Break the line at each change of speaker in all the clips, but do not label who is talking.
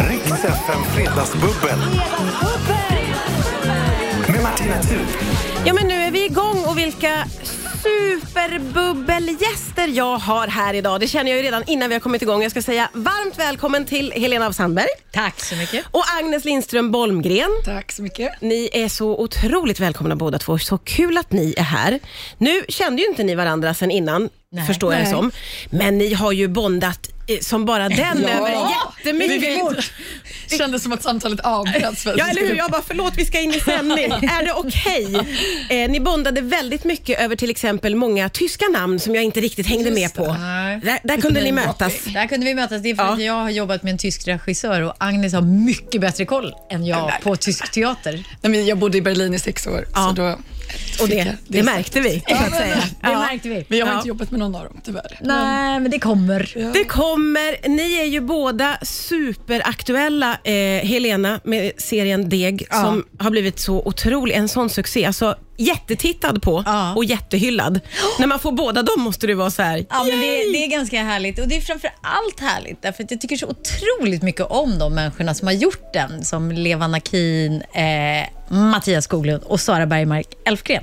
FM Fredagsbubbel med Martina Thun.
Ja, men nu är vi igång och vilka superbubbelgäster jag har här idag. Det känner jag ju redan innan vi har kommit igång. Jag ska säga varmt välkommen till Helena av Sandberg
Tack så mycket.
och Agnes Lindström Bolmgren.
Tack så mycket.
Ni är så otroligt välkomna båda två. Så kul att ni är här. Nu kände ju inte ni varandra sen innan,
Nej.
förstår jag det
Nej.
som. Men ni har ju bondat eh, som bara den över jättemycket.
Vi vill- Det kändes som att samtalet avbröts. för att
Ja,
vi
eller hur?
skulle-
Jag bara, förlåt, vi ska in i sändning. är det okej? Eh, ni bondade väldigt mycket över till exempel många tyska namn som jag inte riktigt hängde med på.
Nej.
Där, där kunde ni
namedropping.
mötas.
Där kunde vi mötas. Det är för
Ja.
att jag har jobbat med en tysk regissör och Agnes har mycket bättre koll än jag på tysk teater.
Nej, men jag bodde i Berlin i sex år.
Ja.
Så då
Och
fick jag-
det, det märkte vi, så att säga.
Det
Ja.
märkte vi.
Men jag har
Ja.
inte jobbat med någon av dem, tyvärr.
Nej, men det kommer.
Det kommer, ni är ju båda superaktuella. Eh, Helena med serien Deg som har blivit så otrolig, en sån succé. Alltså jättetittad på
Ja.
och jättehyllad. När man får båda dem måste det vara så här.
Ja, men det, det är ganska härligt och det är framför allt härligt därför att jag tycker så otroligt mycket om de människorna som har gjort den som Levan Akin, eh, Mattias Skoglund och Sara Bergmark Elfgren.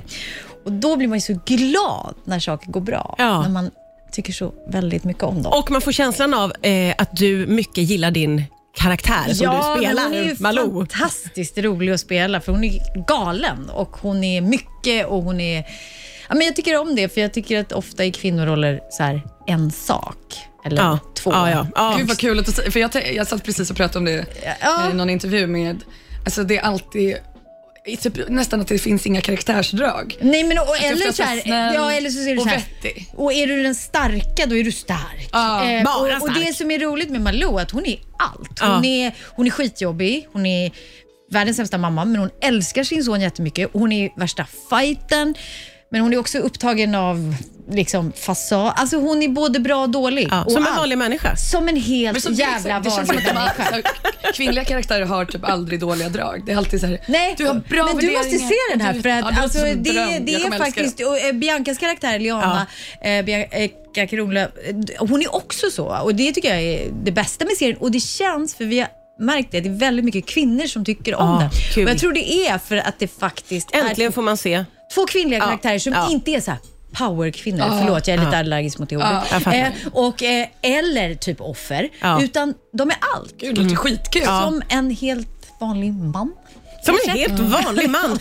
Och då blir man ju så glad när saker går bra,
Ja.
när man tycker så väldigt mycket om dem.
Och man får känslan av eh, att du mycket gillar din karaktär som du spelar,
men hon är ju
Malou.
fantastiskt rolig att spela för hon är galen och hon är mycket och hon är... Ja, men jag tycker om det för jag tycker att ofta i kvinnoroller så här, en sak eller
Ja,
två.
ja, ja, ja.
Gud vad kul att du säger, för jag, te- jag satt precis och pratade om det
Ja.
i någon intervju med, alltså det är alltid, i typ, nästan att det finns inga karaktärsdrag.
Nej, men, och,
jag
eller,
ska
så här,
vara snäll
ja, eller så är du
och
så här,
vettig.
Och är du den starka, då är du stark. Eh,
Ja,
bara
och, och
stark.
det som är roligt med Malou är att hon är allt.
Ja.
Hon, är, hon är skitjobbig, hon är världens sämsta mamma, men hon älskar sin son jättemycket. Hon är värsta fighten men hon är också upptagen av liksom, fasad. Alltså hon är både bra och dålig.
Ja,
och
som en
allt.
vanlig människa.
Som en
Men
helt
som-
jävla
det känns som
vanlig
att de
människa.
all- så här, kvinnliga karaktärer har typ aldrig dåliga drag. Det är alltid så här,
Nej,
du har bra
men du
värderingar
måste se den här.
och
För
du-
att,
Ja, det låter
alltså,
som
det,
en dröm. Jag
det
kommer
är
älska
faktiskt, och, eh, Biancas karaktär, Liana eh, Bianca Kronlöf, eh, hon är också så. Och Det tycker jag är det bästa med serien. Och det känns, för vi har märkt det, att det är väldigt mycket kvinnor som tycker om
Ja,
den.
kul.
Och jag tror det är för att det faktiskt
Äntligen
är
får man se.
två kvinnliga
Ja,
karaktärer som
ja.
inte är så här powerkvinnor. Förlåt, jag är lite allergisk mot det ordet.
jag fattar.
Eh, och, eh, eller typ offer.
Ja.
Utan de är allt.
Gud, det låter skitkul.
Som en helt vanlig man. Mm.
Som en helt vanlig man.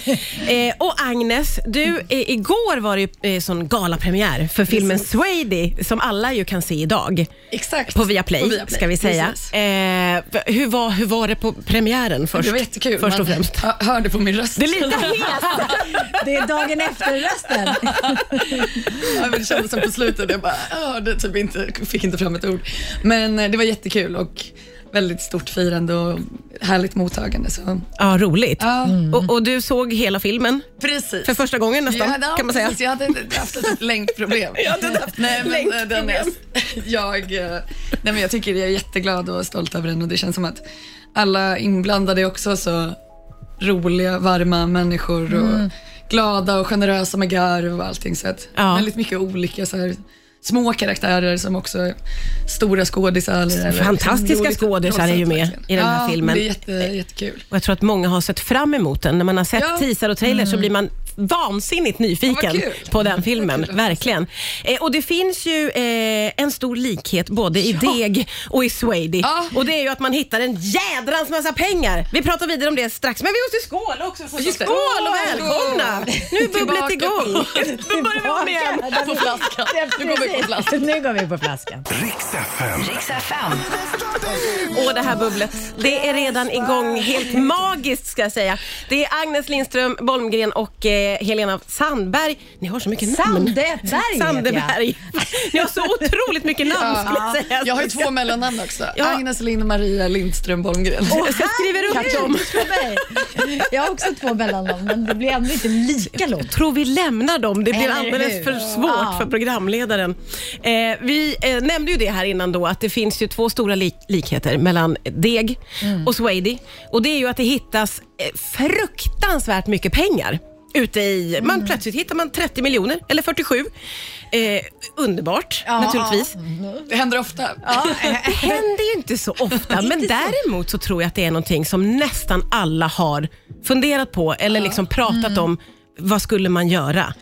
Eh, och Agnes, du, eh, igår var det ju eh, sån galapremiär för filmen Swady som alla ju kan se idag.
Exakt.
På Viaplay,
På
ska vi säga.
Precis.
Eh, hur, var, hur var det på premiären först?
Det var jättekul.
Först och
Man
främst.
hö- hörde på min röst.
Det är lite
Det är dagen efter-rösten.
Ja, men det kändes som på slutet, jag bara, jag hörde typ inte, fick inte fram ett ord. Men eh, det var jättekul och väldigt stort firande och härligt mottagande. Så.
Ja, roligt.
Ja.
Och, och du såg hela filmen
Precis.
Mm. för första gången nästan,
Ja, ja,
kan man säga.
precis. Jag hade inte haft ett länkproblem. jag hade haft nej, men, eh, den är, jag, eh, nej, men jag tycker jag är jätteglad och stolt över den och det känns som att alla inblandade är också så roliga, varma människor och
Mm.
glada och generösa med garv och allting. Så att
Ja.
Väldigt mycket olika så här, små karaktärer som också är stora skådisar. eller- eller-
Fantastiska
roligt-
skådisar är ju med
verkligen.
i den här
ja,
filmen.
Det är jätte, jättekul.
Och jag tror att många har sett fram emot den. När man har sett
Ja. Mm.
teaser och trailers så blir man vansinnigt
Ja,
nyfiken
vad kul.
på den filmen. Verkligen. Eh, och det finns ju eh, en stor likhet både i Deg och i Swady.
Ja.
Och det är ju att man hittar en jädrans massa pengar. Vi pratar vidare om det strax, men vi måste skåla också. Så
Just det.
skål och välkomna! Nu är bubblet
Tillbaka.
igång. Nu börjar vi om igen.
På flaskan. Nu går vi på flaskan.
Nu går vi på flaskan.
Riks FM.
Och det här bubblet, det är redan igång. Helt magiskt ska jag säga. Det är Agnes Lindström Bolmgren och eh, Helena Sandberg. Ni har så mycket namn.
Sandeberg
Sandeberg. Ni har så otroligt mycket namn skulle jag säga.
Jag har ju två mellannamn också.
Ja.
Agnes Lind Maria Lindström Bolmgren.
Så jag skriver upp dem.
Jag har också två mellannamn, men det blir ändå inte lika långt.
tror vi lämnar dem. Det blir
Eller
alldeles
hur?
för svårt
Ja.
för programledaren. Eh, vi eh, nämnde ju det här innan då att det finns ju två stora lik- likheter mellan Deg
Mm.
och Swady. Och det är ju att det hittas eh, fruktansvärt mycket pengar. ute i...
Mm.
Man plötsligt hittar man 30 miljoner, eller 47. Eh, underbart,
Ja,
naturligtvis.
Det händer ofta.
Det händer ju inte så ofta, men däremot så tror jag att det är någonting som nästan alla har funderat på eller liksom pratat om. Vad skulle man göra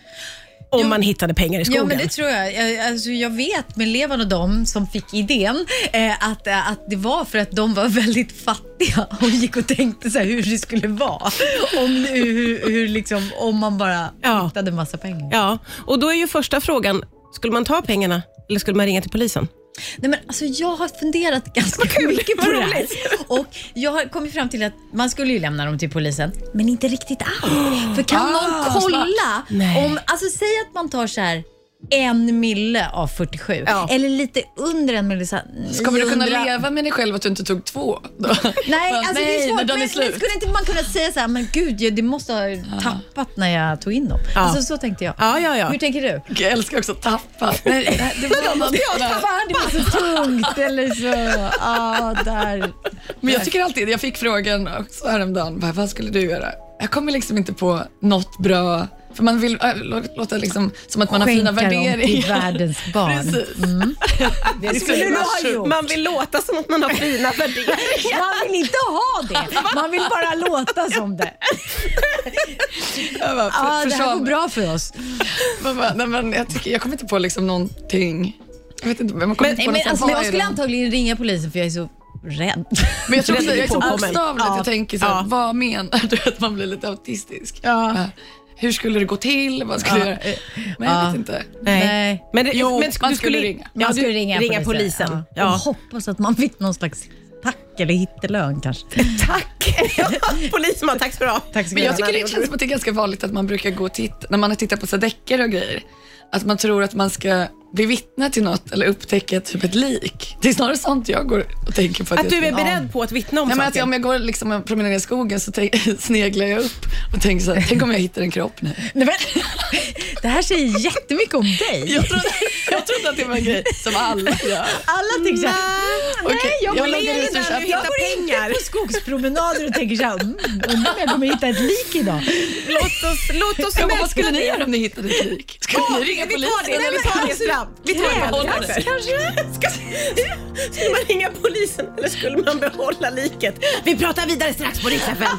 om man hittade pengar i skogen?
Ja, men det tror jag. Jag, alltså, jag vet med Levan och dem som fick idén eh, att, eh, att det var för att de var väldigt fattiga och gick och tänkte så här, hur det skulle vara om, hur, hur, liksom, om man bara
Ja.
hittade massa pengar.
Ja, och då är ju första frågan, skulle man ta pengarna eller skulle man ringa till polisen?
Nej, men alltså, jag har funderat ganska mycket på
vad
det här. Och jag har kommit fram till att man skulle ju lämna dem till polisen, men inte riktigt allt. För kan
Ah,
någon kolla?
Nej.
Om, alltså, säg att man tar så här en mille av 47,
Ja.
eller lite under en mille. Så här,
Så kommer du kunna
900.
leva med dig själv att du inte tog två? Då?
Nej, alltså
Nej,
det är svårt.
när de är
men,
slut.
men skulle inte man kunna säga så här, men gud, jag, det måste ha tappat när jag tog in dem. Alltså så tänkte jag.
Ja, ja, ja.
Hur tänker du?
Jag älskar också att tappa. Nej, det var något annat.
Fan, det var så tungt eller så. Ja, där.
Men jag tycker alltid, jag fick frågan också häromdagen, bara, vad skulle du göra? Jag kommer liksom inte på något bra, för man vill äh, lå- låta liksom, som att man har fina
Skänka dem till
värderingar.
världens barn.
Precis.
Det skulle du ha gjort.
Man vill låta som att man har fina värderingar.
Man vill inte ha det. Man vill bara låta som det.
Jag, bara, för,
Ja, det här
försade
går
mig.
bra för oss.
Man bara, nej, men jag, tycker, jag kommer inte på liksom någonting. Jag vet inte, men man kommer inte
Nej,
på
men,
något som
alltså, men
var
jag
i
skulle
den.
antagligen ringa polisen för jag är så rädd.
Men jag tror
Det
att
är
jag är så
påkommen.
bokstavligt.
Ja.
Jag tänker så här,
Ja.
vad menar du? Att man blir lite autistisk.
Ja.
Äh, Hur skulle det gå till? Vad skulle
Ja.
jag göra? Men jag
Ja.
vet inte.
Nej.
Men, det-
Jo,
men
man
du
skulle ringa.
Ja,
Man
du-
skulle ringa,
polisen.
Ja. Och hoppas att man fick någon slags tack eller hittelön kanske.
Tack! Polisman, tack så bra.
Tack så
Men
mycket.
jag tycker det känns som att det är ganska vanligt att man brukar gå och titta, när man har tittat på så här deckare och grejer, att man tror att man ska bli vittne till något eller upptäcka typ ett lik. Det är snarare sånt jag går och tänker på.
Att
jag
du
ska-
är beredd på att vittna om
Nej, men att
saker.
jag, om jag går liksom och promenerar i skogen så tänk, sneglar jag upp och tänker så här, tänk om jag hittar en kropp nu.
Nej, men, det här säger jättemycket om dig.
Jag trodde, jag trodde att det var en grej som alla gör.
Mm.
Alla tänker såhär,
Okej,
nej jag,
jag
går
lägger
in
ut och
där,
köper.
jag går in
pengar.
på skogspromenader och tänker såhär, mm, undrar om jag kommer hitta ett lik idag.
Låt oss, låt oss
Ja, men vad
smälta
skulle ni
det.
göra om ni hittade ett lik? Skulle ni ringa
Vi tar det,
polisen?
nej, vi tar
alltså,
det snabbt. Vi tar det.
Trädrax
kanske? Ska, skulle man ringa polisen eller skulle man behålla liket? Vi pratar vidare strax på Rix FM.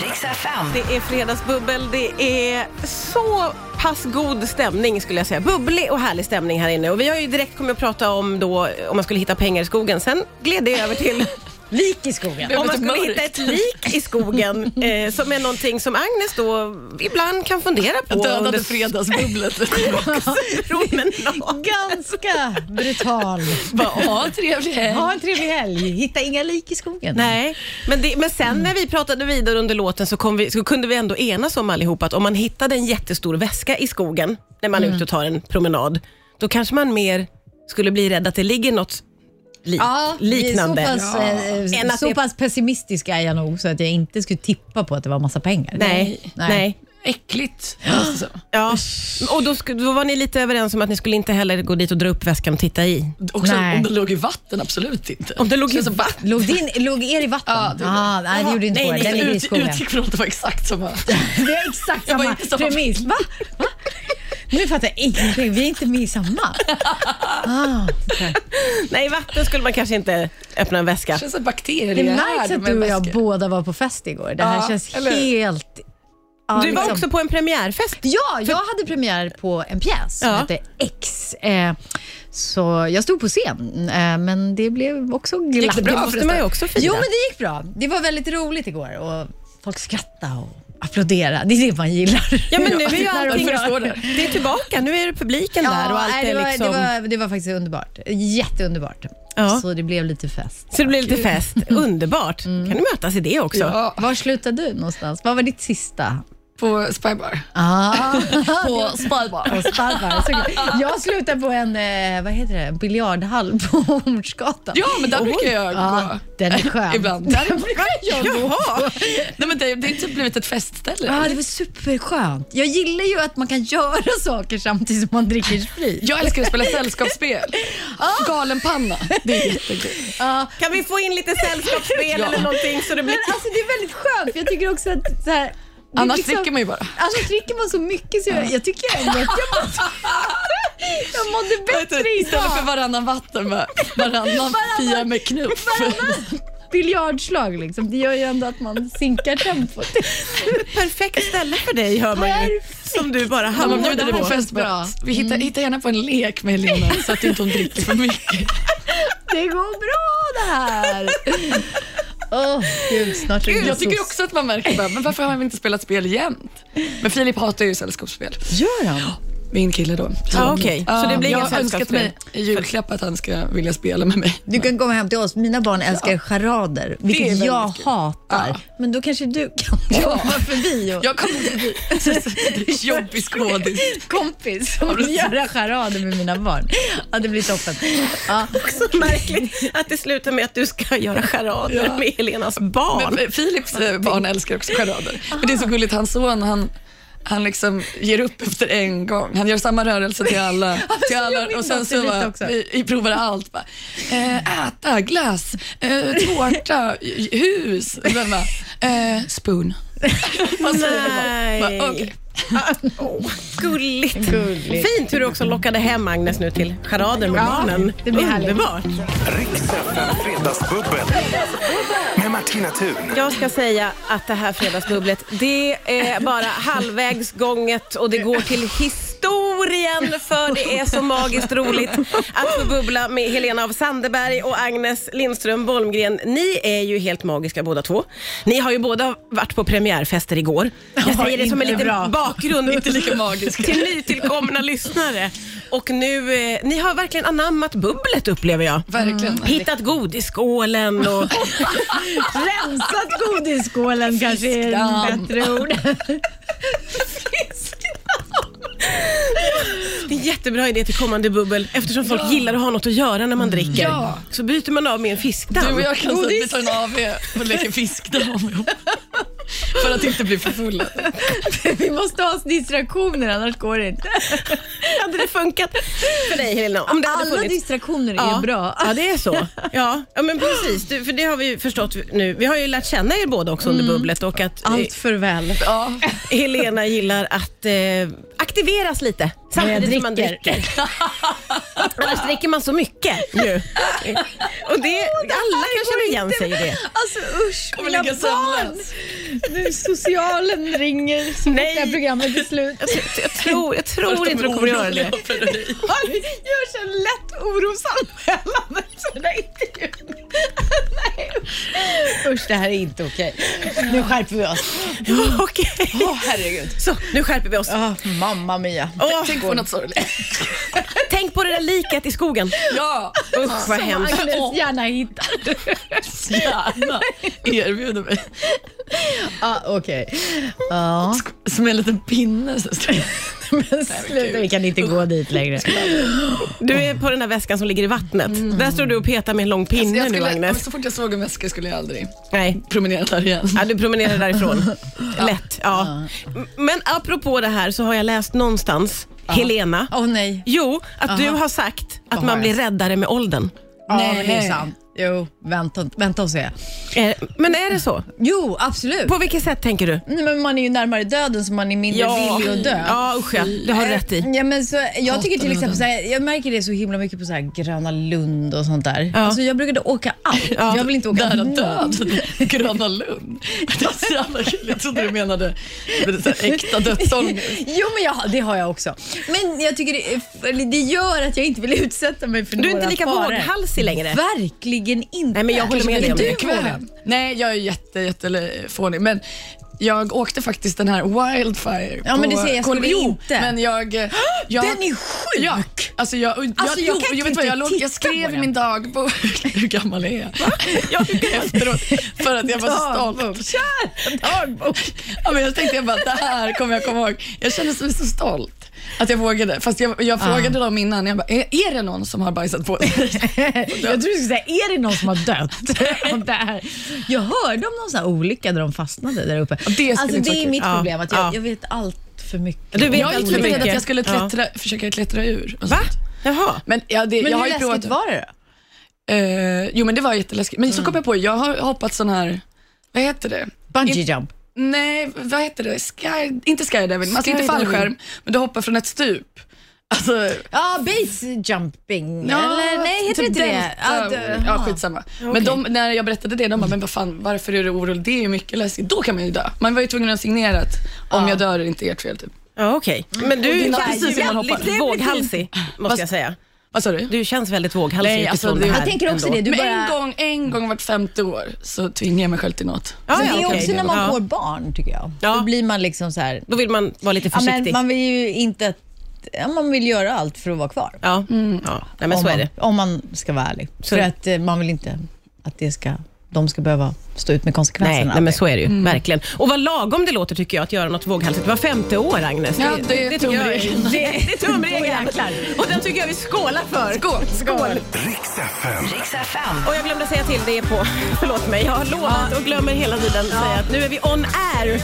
Riks FM.
Det är fredagsbubbel. Det är så pass god stämning skulle jag säga. Bubblig och härlig stämning här inne. Och vi har ju direkt kommit att prata om då om man skulle hitta pengar i skogen. Sen gled det över till
Lik i skogen.
Ja.
om man
men
skulle
mörkt.
hitta ett lik i skogen eh, som är någonting som Agnes då ibland kan fundera på.
Jag
under
dödade fredagsbubblet lite.
promenad.
Ganska brutal.
Bara, ha en trevlig helg.
Ha en trevlig helg. Hitta inga lik i skogen.
Nej, men, det, men sen när vi pratade vidare under låten så, kom vi, så kunde vi ändå enas om allihop att om man hittade en jättestor väska i skogen när man
Mm.
är ute och tar en promenad, då kanske man mer skulle bli rädd att det ligger något li-
Ja,
liknande.
Så pass, eh,
Än att
så
det-
pass pessimistisk är jag nog så att jag inte skulle tippa på att det var massa pengar.
Nej, nej.
Äckligt. Alltså så.
Ja. Och då, sk- då var ni lite överens om att ni skulle inte heller gå dit och dra upp väskan och titta i.
Också
Nej.
om det låg i vatten, absolut inte.
Om det låg i
Känns som bara-
Låg, din, låg er i vatten?
Ja, det gjorde
ah, nej, det gjorde inte
Nej,
vår. Den
nej,
ligger i
Ut,
skogen.
utgick från att det var exakt samma.
Vi har exakt
Jag var
samma
inte samma.
premiss. Va? Va? Nu fattar jag ingenting. Vi är inte med i samma. Ah, okej.
Nej, i vatten skulle man kanske inte öppna en väska.
Det känns som bakterier.
Det är
här,
nice
de
att du och jag
väskor.
båda var på fest igår. Det här
Ja,
känns
eller hur?
helt... ja,
Du var
liksom-
också på en premiärfest.
Ja, jag hade premiär på en pjäs som
Ja.
hette X. Eh, så jag stod på scen, eh, men det blev också glatt.
Gick det bra
Det måste
förresten?
man ju också fira.
Jo, men det gick bra. Det var väldigt roligt igår och folk skrattade och applåderade. Det är det man gillar.
Ja, men nu är ju
När de
allting...
gör-
Det är tillbaka. Nu är det publiken där och allt
nej,
är
det, var,
liksom...
det, var, det var faktiskt underbart. Jätteunderbart.
Ja.
Så det blev lite fest.
Så det blir lite fest. Underbart. Kan du mötas i det också?
Ja,
Var slutade du någonstans? Vad var ditt sista?
på Spybar.
Ah,
På Spybar.
på Sparvar. Så- Jag slutade på en eh, vad heter det? En biljardhall på Hornsgatan.
Ja, men där brukar jag
Ja,
gå.
den är skön.
Ibland.
Där brukar jag gå.
Jaha!
Nej, men det, det har typ blivit ett festställe.
Ja, det var superskönt. Jag gillar ju att man kan göra saker samtidigt som man dricker sprit.
Jag älskar att spela sällskapsspel. Galenpanna. Det är jättekul.
Ja,
Kan vi få in lite sällskapsspel
Ja.
eller någonting så det blir...
Men alltså det är väldigt skönt för jag tycker också att så här, Det är
Annars
liksom-
dricker man ju bara.
Annars dricker man så mycket så jag, jag tycker ändå att jag mådde, jag mådde bättre
Istället för
idag.
varannan vatten, bara varannan fia med knuff.
Biljardslag liksom, det gör ju ändå att man sinkar tempot.
Perfekt ställe för dig hör man ju. Som du bara
Ja, man bjuder
hamnade
dig på
på.
festbra. Mm. Vi hittar, hittar gärna på en lek med Helena så att inte hon dricker för mycket.
Det går bra det här. Åh, gud, snart är det
Jag tycker
soc.
också att man märker bara, men varför har vi inte spelat spel jämt? Men Filip hatar ju sällskapsspel.
Gör han?
Min kille då. Så,
Ja, okej. Så det blir inga
jag har önskat
sällskapsspel.
mig i julklapp att han ska vilja spela med mig.
Du kan komma hem till oss. Mina barn älskar charader, vilket
väldigt
jag
kul.
hatar.
Ja.
Men då kanske du kan komma förbi och
Jag kommer bli jobbig skådis.
kompis och göra charader med mina barn. Ja, det blir toppen. Ja.
Så märkligt att det slutar med att du ska göra charader med Helenas barn.
Men Philips eh, barn älskar också charader. Men det är så gulligt, hans son han, han liksom ger upp efter en gång. Han gör samma rörelse till alla. till alla
min
och sen
dotter
så
lite
bara,
också.
vi, vi provar allt. Bara, eh, äta, glass, eh, tårta, j- hus. Och sen bara, eh, spoon. Vad säger du?
Nej.
Bara, okej.
Åh, gulligt.
Gulligt.
Fint hur du också lockade hem Agnes nu till charader med barnen.
det blir härligt.
Underbart.
Riks FM Fredagsbubbel. Med Martina Thun.
Jag ska säga att det här fredagsbubblet, det är bara halvvägs gånget och det går till historien för det är så magiskt roligt att få bubbla med Helena av Sandeberg och Agnes Lindström Bolmgren. Ni är ju helt magiska båda två. Ni har ju båda varit på premiärfester igår. Jag säger det som en
inte
liten
bra.
bakgrund.
Inte lika magisk.
till nytillkomna lyssnare. Och nu, eh, ni har verkligen anammat bubblet upplever jag.
Verkligen.
Hittat godisskålen och
Rensat godisskålen kanske är
Fiskdamm.
ett bättre ord.
Det är en jättebra idé till kommande bubbel eftersom folk gillar att ha något att göra
Mm.
när man dricker.
Ja.
Så byter man av med en fiskdamm.
Du och jag kan säga att vi tar en AV och leker fiskdamm ihop. För att inte bli för fulla.
Vi måste ha distraktioner, annars går det inte.
Hade det funkat för dig Helena? Om det hade
Alla
funnits.
distraktioner är
Ja.
ju bra.
ja, det är så. Ja, ja men precis. Du, för det har vi ju förstått nu. Vi har ju lärt känna er båda också under bubblet och att eh,
Mm. Allt för väl.
Ja.
Helena gillar att eh, aktiveras lite samtidigt som man dricker. Annars dricker man så mycket ju. Och det, alla kan känna igen sig i det.
Alltså usch,
Kommer
mina
ligga
barn! Nu socialen ringer så fort det
Nej.
här programmet är slut.
Jag, tr- jag tror, jag tror inte du kommer göra det.
Det görs en lätt orosanmälan efter den här intervjun. Nej. Usch, det här är inte okej. Nu skärper vi oss.
Okej.
Åh, herregud.
Så, nu skärper vi oss.
Ah, mamma mia.
Åh,
Tänk på något sorgligt.
tänk på det där liket i skogen.
Ja,
Usch vad hemskt.
Agnes gärna hittar.
gärna erbjuder mig.
Ah, okej. Ja.
Sk- Som en liten pinne. Så ska jag.
Men sluta, vi kan inte gå dit längre.
Du är på den där väskan som ligger i vattnet. Där står du och petar med en lång
Alltså,
pinne
Jag
nu
skulle,
Agnes.
så fort jag såg en väska skulle jag aldrig
Nej.
promenera där igen.
Ja, du promenerar därifrån. Lätt. Ja. M- Men apropå det här så har jag läst någonstans, Helena,
Åh nej.
jo, att du har sagt att
har
man blir räddare med åldern.
Ja,
Nej.
men det är sant. Jo, vänta, vänta och se.
Eh, Men är det så?
Jo, absolut.
På vilket sätt tänker du?
Nej, men man är ju närmare döden så man är mindre villig att dö.
Ja, usch ja. Det har du rätt i.
Ja, men så, jag, tycker till
döden.
exempel, så här, jag märker det så himla mycket på så här, Gröna Lund och sånt där.
Ja.
Alltså, jag brukade åka allt.
Ja.
Jag vill inte åka
Där och
någon.
död, Gröna Lund. Det är så jävla kul. Alltså, Jag trodde du menade det är så här äkta dödsångest.
Jo, men jag, det har jag också. Men jag tycker det, är- det gör att jag inte vill utsätta mig för
Du är
några
inte lika
faror.
våghalsig längre.
Verkligen inte.
Nej, men jag håller med dig om
Är
det.
du vågad?
Nej, jag är jätte, jätte fånig. Men jag åkte faktiskt den här Wildfire
Ja, men det ser jag, jag
på Kol-
skulle
Jo,
inte.
Men jag, jag,
Den är sjuk!
Ja, alltså jag, jag,
Alltså, jag
jag,
kan
vet vad,
inte
jag, låg,
titta
jag
på
skrev i
den.
min dagbok, hur gammal är jag? jag efteråt, för att jag var så stolt.
Dagbok. Kör! Dagbok.
Ja, men jag tänkte jag bara, det här kommer jag komma ihåg. Jag kände mig så stolt att jag vågade. Fast jag, jag frågade dem innan, jag bara, är, är det någon som har bajsat på sig?
Jag tror du skulle säga, är det någon som har dött? Och där. Jag hörde om någon sån här olycka där de fastnade där uppe.
skulle
alltså,
inte
det
vara
är
kul.
mitt
Ja,
problem, att jag,
ja.
jag vet allt för mycket.
Du vet
Jag
allt
gick
för
med att
mycket.
jag skulle
Ja.
klättra, försöka klättra ur. och
Va?
sånt.
Jaha.
Men, ja, det,
Men
jag
hur
har ju
läskigt
provat-
var Mm. det då?
Eh, jo men det var jätteläskigt. Men så kom jag på, jag har hoppat sån här, vad heter det?
Bungee
In-
jump.
Nej, vad heter det? Sky, inte skydiving, man alltså inte
Skydiving.
fallskärm, men du hoppar från ett stup. Alltså,
Ja, base jumping.
ja,
eller nej, heter det
typ
inte det?
delta-
Ja, d-
Ja, skitsamma. Men de, när jag berättade det, de bara, men vad fan, varför är du orolig? Det är ju mycket läskigt. Då kan man ju dö. Man var ju tvungen att signera att om jag dör är det inte ert fel. Typ.
Ja, okej. Men du är
dina-
faktiskt
precis hur man hoppar.
väldigt våghalsig, måste jag säga.
Vad sa du?
Du känns väldigt våghalsig
Nej, alltså,
utifrån
det-
här
Jag
tänker också det. Du
men
bara-
en, gång, en gång vart femte år så tvingar jag mig själv till något.
Ja,
Men det är
ja, okej.
också när man
Ja.
får barn, tycker jag.
Ja.
Då blir man liksom så här...
Då vill man vara lite
Ja,
försiktig.
men
Ja,
man vill ju inte... att- Ja, man vill göra allt för att vara kvar.
ja. Nej, men
om,
så är
man,
det.
om man ska vara ärlig.
Så-
för att eh, man vill inte att det ska, de ska behöva stå ut med
Nej,
konsekvenserna.
nej, men så är det ju. Verkligen. Och vad lagom det låter tycker jag att göra något våghalsigt var femte år, Agnes.
Ja, det
tycker
är
jag
tumregeln.
Det, det är tumregeln.
jäklar.
Och den tycker jag vi skålar för. Skål! Skål.
Riks FM.
Och jag glömde säga till det på, förlåt mig, jag har lovat och glömmer hela tiden säga att nu är vi on air.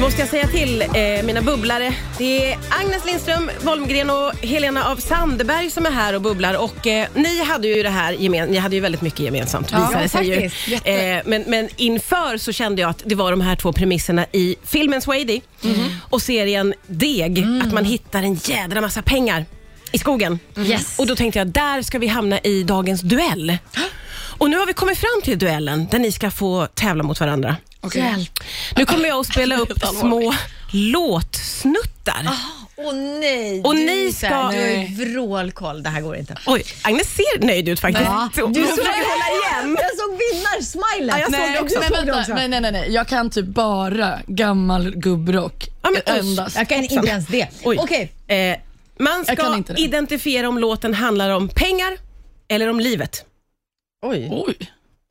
Måste jag säga till eh, mina bubblare. Det är Agnes Lindström Holmgren och Helena av Sandberg som är här och bubblar. Och eh, ni hade ju det här gemen, ni hade ju väldigt mycket gemensamt
Ja,
visade sig ju.
faktiskt.
Eh, men, men inför så kände jag att det var de här två premisserna i filmen Swady
Mhm.
och serien Deg.
Mm.
Att man hittar en jädra massa pengar i skogen.
Mm. Yes.
Och då tänkte jag, där ska vi hamna i dagens duell. Och nu har vi kommit fram till duellen där ni ska få tävla mot varandra.
Okej.
Nu kommer jag att spela upp små låtsnuttar.
Åh nej,
Och
du,
ni
är så här-
ska-
du har ju vrålkoll. Det här går inte.
Oj, Agnes ser nöjd ut faktiskt. Så-
Du
hon
såg
försöker hålla igen.
Jag såg vinnarsmilet.
Ja, jag såg det
Nej,
också.
men
Såg det
vänta,
också.
nej, nej, nej, nej. Jag kan typ bara gammal gubbrock.
Ja, men usch.
endast.
Jag kan inte ens det.
Oj.
Okej,
Eh, man
Jag kan
ska
inte det.
identifiera om låten handlar om pengar eller om livet.
Oj.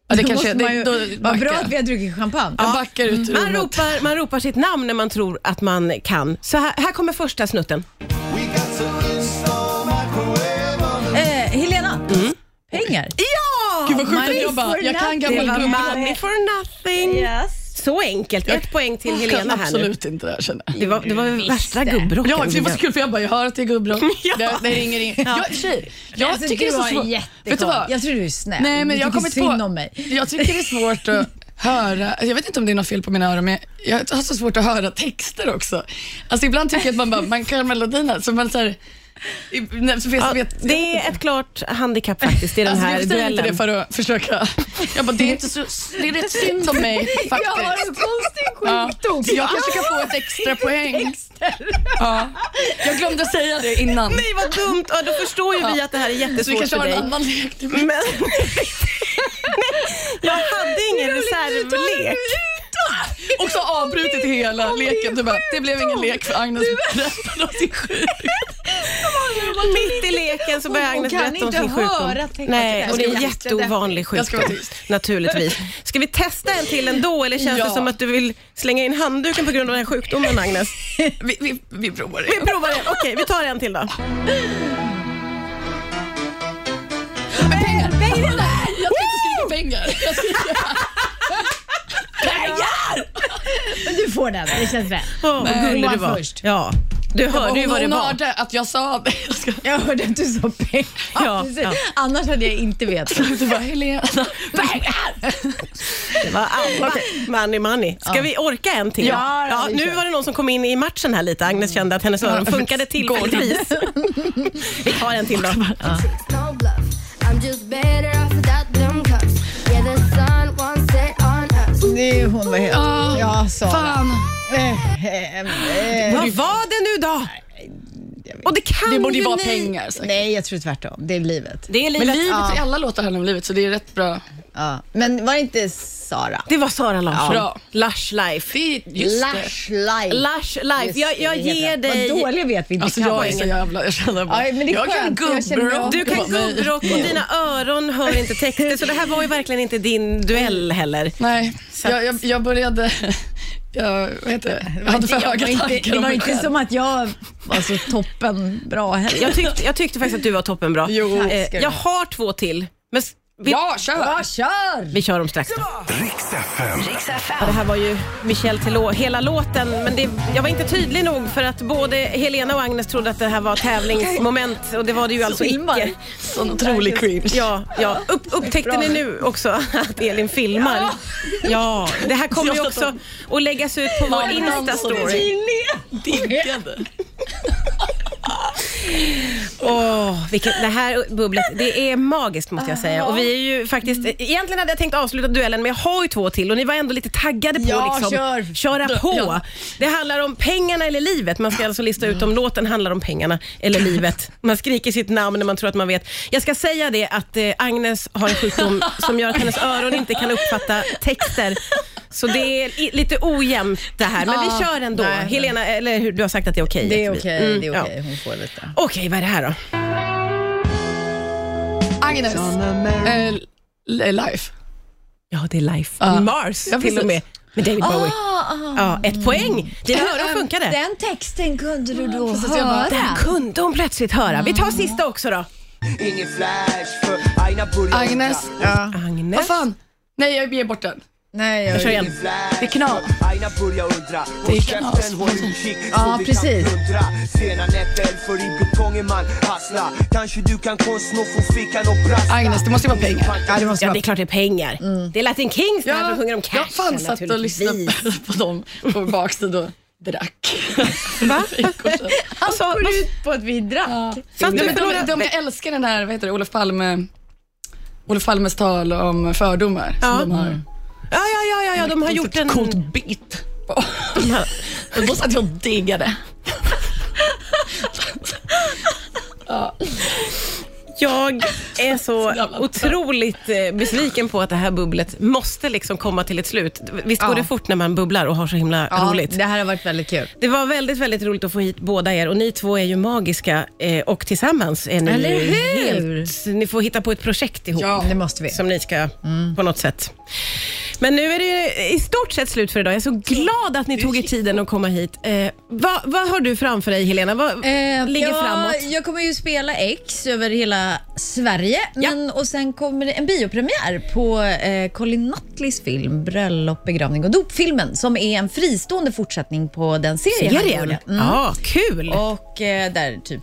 Ja, det
då
kanske,
måste man
det,
ju,
då
vad
backar
bra
jag.
att Mm. vi har druckit champagne.
Jag backar ut ur
Man
rummet.
ropar, man ropar sitt namn när man tror att man kan. Så här, här kommer första snutten.
Eh, Helena, pengar.
Mm. Ja!
Gud vad sjukt
Money
att jag bara,
for
jag kan
nothing.
Det
gammal
var
gubbrock.
money for nothing. Så enkelt. Ett poäng till
Jag kan
Helena här nu.
absolut inte det här känner jag.
Det var, det var värsta gubbrocken.
Ja, det var så kul för jag bara, jag hör att det är gubbrock.
Ja.
det, det ringer in. Ja. Jag, tjej, jag
Alltså,
tycker
du
det är så
var
svårt. Vet du
jättekom.
vad?
Jag tror du är snäll.
Nej, men
du
jag har
tycker
kommit
synd
på-
om mig.
Jag tycker det är svårt att höra, jag vet inte om det är något fel på mina öron, men jag har så svårt att höra texter också. Alltså ibland tycker jag att man bara, man kan melodierna, så man såhär, så vet,
Ja,
vet,
det är ett klart handikapp faktiskt i den
Alltså,
här
jag säger inte det
duellen.
för att försöka. Jag bara, det är inte så, det är rätt synd om mig
Jag har
faktiskt.
en konstig
Ja.
sjukdom.
Så jag kanske kan få ett extra poäng. Ja. Jag glömde säga det innan.
Nej, vad dumt! Ja, då förstår ju vi att det här är
Så vi
jättesvårt
kanske
för
har en
dig.
annan lek. till mig.
Men... Jag hade ingen reservlek.
Och så avbrutit hela leken. Du bara, det blev ingen lek för Agnes berättade om sin sjukdom.
Mitt i leken så börjar
Hon
Agnes
kan
berätta om
inte
sin sjukdom.
höra texten.
Nej, och det är en
Jag ska vara
jätteovanlig
Jag ska
sjukdom.
vara tyst.
Naturligtvis. Ska vi testa en till ändå eller känns det
Ja.
som att du vill slänga in handduken på grund av den här sjukdomen Agnes?
Vi, vi, vi provar det.
Vi provar en. Okej, vi tar en till då.
Pengar! Pengar! Jag tänkte skrika pengar. Jag skriker-
Men du får den, det känns väl.
Åh, vad gullig
Johan
du var.
först.
Ja. Du hörde ju
Hon,
vad det
hon
var.
hörde att jag sa det. Jag ska,
Jag hörde att du sa pengar.
Ja,
Precis.
ja.
Annars hade jag inte vetat.
det var Helena. Pengar!
Det var Alma. Ah, Money, money. Ska vi orka en till?
Ja,
ja,
vi
nu
kör.
var det någon som kom in i matchen här lite. Agnes kände att hennes öron funkade tillfälligtvis. Vi tar en till då.
no bluff. I'm just better off without them cuffs. Yeah, the sun won't set on us.
Det är hon, vad heter
Ja,
Ja, Sara.
Ah, Fan.
Eh, eh, eh,
Vad var det nu då? Och det kan
Det borde ju
ju
vara
ni.
pengar. säkert.
Nej, jag tror tvärtom. Det är livet.
Det är
Men livet,
livet.
i alla låtar handlar om livet, så det är rätt bra.
Ja. Men var det inte Sara?
Det var Sara Larsson.
Bra.
Lush life.
Det är just det.
Lush life.
Lush life.
Just
Jag,
det,
jag
det heter
ger
den.
dig...
Vad dålig vet vi inte
Alltså
kan
jag är
poängen.
så jävla, jag känner bara,
Ja, men det är
jag kan
skönt, för jag känner
gubbrock.
av-
Du kan
Bara, nej.
gubbrock och dina öron hör inte texter, så det här var ju verkligen inte din duell heller.
Nej,
Så att-
jag, jag, jag började, jag, vad heter det? jag hade för
Det
höga
var inte,
tankar
det
om
var
Alltså, mig
inte
själv.
som att jag var så toppen bra heller.
Jag tyckte, jag tyckte faktiskt att du var toppenbra.
Jo.
Eh, jag har två till, men s- Vi,
Ja, kör!
Ja, kör!
vi kör dem strax. då.
Riks FM.
Ja, det här var ju Michel Telå, hela låten. Men det, jag var inte tydlig nog för att både Helena och Agnes trodde att det här var tävlingsmoment och det var det ju alltså
filmar.
icke.
Sån otrolig cringe.
Ja, ja. Upp, upptäckte ni nu också att Elin filmar? Ja, det här kommer ju också att läggas ut på vår Insta-story.
Diggade.
Åh, vilket, det här bubblet, det är magiskt måste jag säga. Och vi är ju faktiskt,
Mm.
egentligen hade jag tänkt avsluta duellen men jag har ju två till och ni var ändå lite taggade på
Ja,
liksom,
kör.
köra på.
Ja. Mm.
Det handlar om pengarna eller livet. Man ska alltså lista ut om låten handlar om pengarna eller livet. Man skriker sitt namn när man tror att man vet. Jag ska säga det att eh, Agnes har en sjukdom som gör att hennes öron inte kan uppfatta texter. Så det är i- lite ojämnt det här, men vi kör ändå.
nej, nej.
Helena, eller hur? Du har sagt att det är okej.
Det är
att vi-
okej,
Mm,
det är
ja.
okej. Hon får lite.
Okej, vad är det här då?
Agnes. Eh, l- life.
Ja, det är Life
Ja.
on Mars
Ja,
till och
precis.
med. Med David Bowie.
Ah, ah.
Ja, ett poäng. Dina
Mm.
öron funkade.
Den texten kunde du då
jag bara,
höra.
Där kunde hon plötsligt höra. Vi
Ah.
tar sista också då.
Ingen flash för Aina börjar
Agnes. Ja. Vad
Agnes.
fan? Nej, jag ger bort den.
Nej, jag,
Jag kör igen.
flash
Det är knas.
för Aina börjar undra
Det är
Och
knas.
käften håll utkik så
Ja,
vi
precis.
kan plundra Sena nätter för i betongen man hasslar Kanske du kan få en snuff från fickan och brasta
Agnes, det måste ju vara pengar. Ja, det måste
Ja,
vara Mm.
det är klart det är pengar. Det är Latin Kings när de sjunger om cash.
jag fan satt och lyssnade
naturligtvis.
på dem på baksidan och drack.
Va?
Han
sa-
går ut
på att vi drack.
Satt du
Alltså, Nej, men
för några-
de, de jag älskar den här, vad heter det, Olof Palme, Olof Palmes tal om fördomar
Ja.
som de har.
Ja, ja, ja, ja, ja, de har gjort en...
Coolt bit.
de
Mm.
har-
Och då satt jag och diggade.
Jag är så
jävla
otroligt eh, besviken på att det här bubblet måste liksom komma till ett slut. Visst går
Ja.
det fort när man bubblar och har så himla
Ja,
roligt?
det här har varit väldigt kul.
Det var väldigt, väldigt roligt att få hit båda er och ni två är ju magiska eh, och tillsammans är ni
Eller
ju
hur?
helt... Ni får hitta på ett projekt ihop.
Det måste vi. Mm.
Som ni ska på något sätt. Men nu är det ju i stort sett slut för idag. Jag är så glad att ni tog er tiden att komma hit. Eh, vad, vad har du framför dig Helena? Vad ligger
Eh, ja,
framåt?
Jag kommer ju spela X över hela Sverige.
Ja.
Men, och Sen kommer det en biopremiär på eh, Colin Nutleys film Bröllop, begravning och dop. Filmen som är en fristående fortsättning på den serien. han
Serien?
gjorde.
Ja,
Mm.
kul!
Och eh, där typ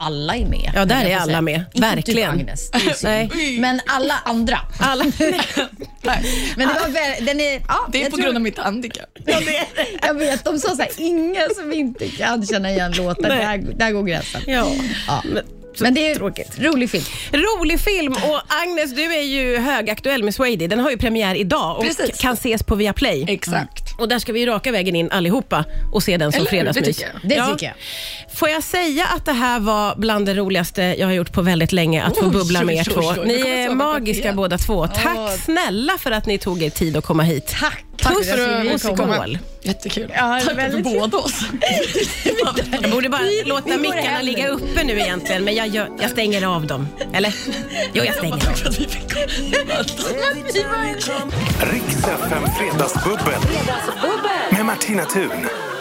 alla är med.
Ja, där
Jag
är
får
alla
säga.
med.
Inte
Verkligen.
Du, Agnes. Det är synd.
Nej.
Men alla andra.
Alla,
Men det var väl, den är, ja,
Det är
jag
på
tror-
grund av mitt handikapp.
Jag vet, de sa så här, ingen som inte kan känna igen låten.
Nej.
Där, där går gränsen.
ja.
Ja.
Men, så
Men det är
tråkigt.
rolig film.
Rolig film och Agnes, du är ju högaktuell med Swady. Den har ju premiär idag och
Precis.
kan ses på Viaplay.
Exakt.
Och där ska vi ju raka vägen in allihopa och se den som
Eller hur? Det
fredagsmys.
tycker
jag. Det tycker jag.
Får jag säga att det här var bland det roligaste jag har gjort på väldigt länge, att få
Oj,
bubbla med er
oj,
två.
oj, oj.
Ni
Jag kommer
är
sova på
magiska
igen.
båda två. Tack snälla för att ni tog er tid att komma hit.
Tack.
Puss
för att vi
och
fick komma.
skål.
Jättekul.
Ja,
Tack för
väldigt kul.
båda oss.
Jag borde bara låta
går
mickarna
hem
ligga uppe nu egentligen, men jag, gör, jag stänger av dem. Eller? Jo, jag stänger av.
Tack för att vi fick komma.
Riks FM Fredagsbubbel. Med Martina Thun.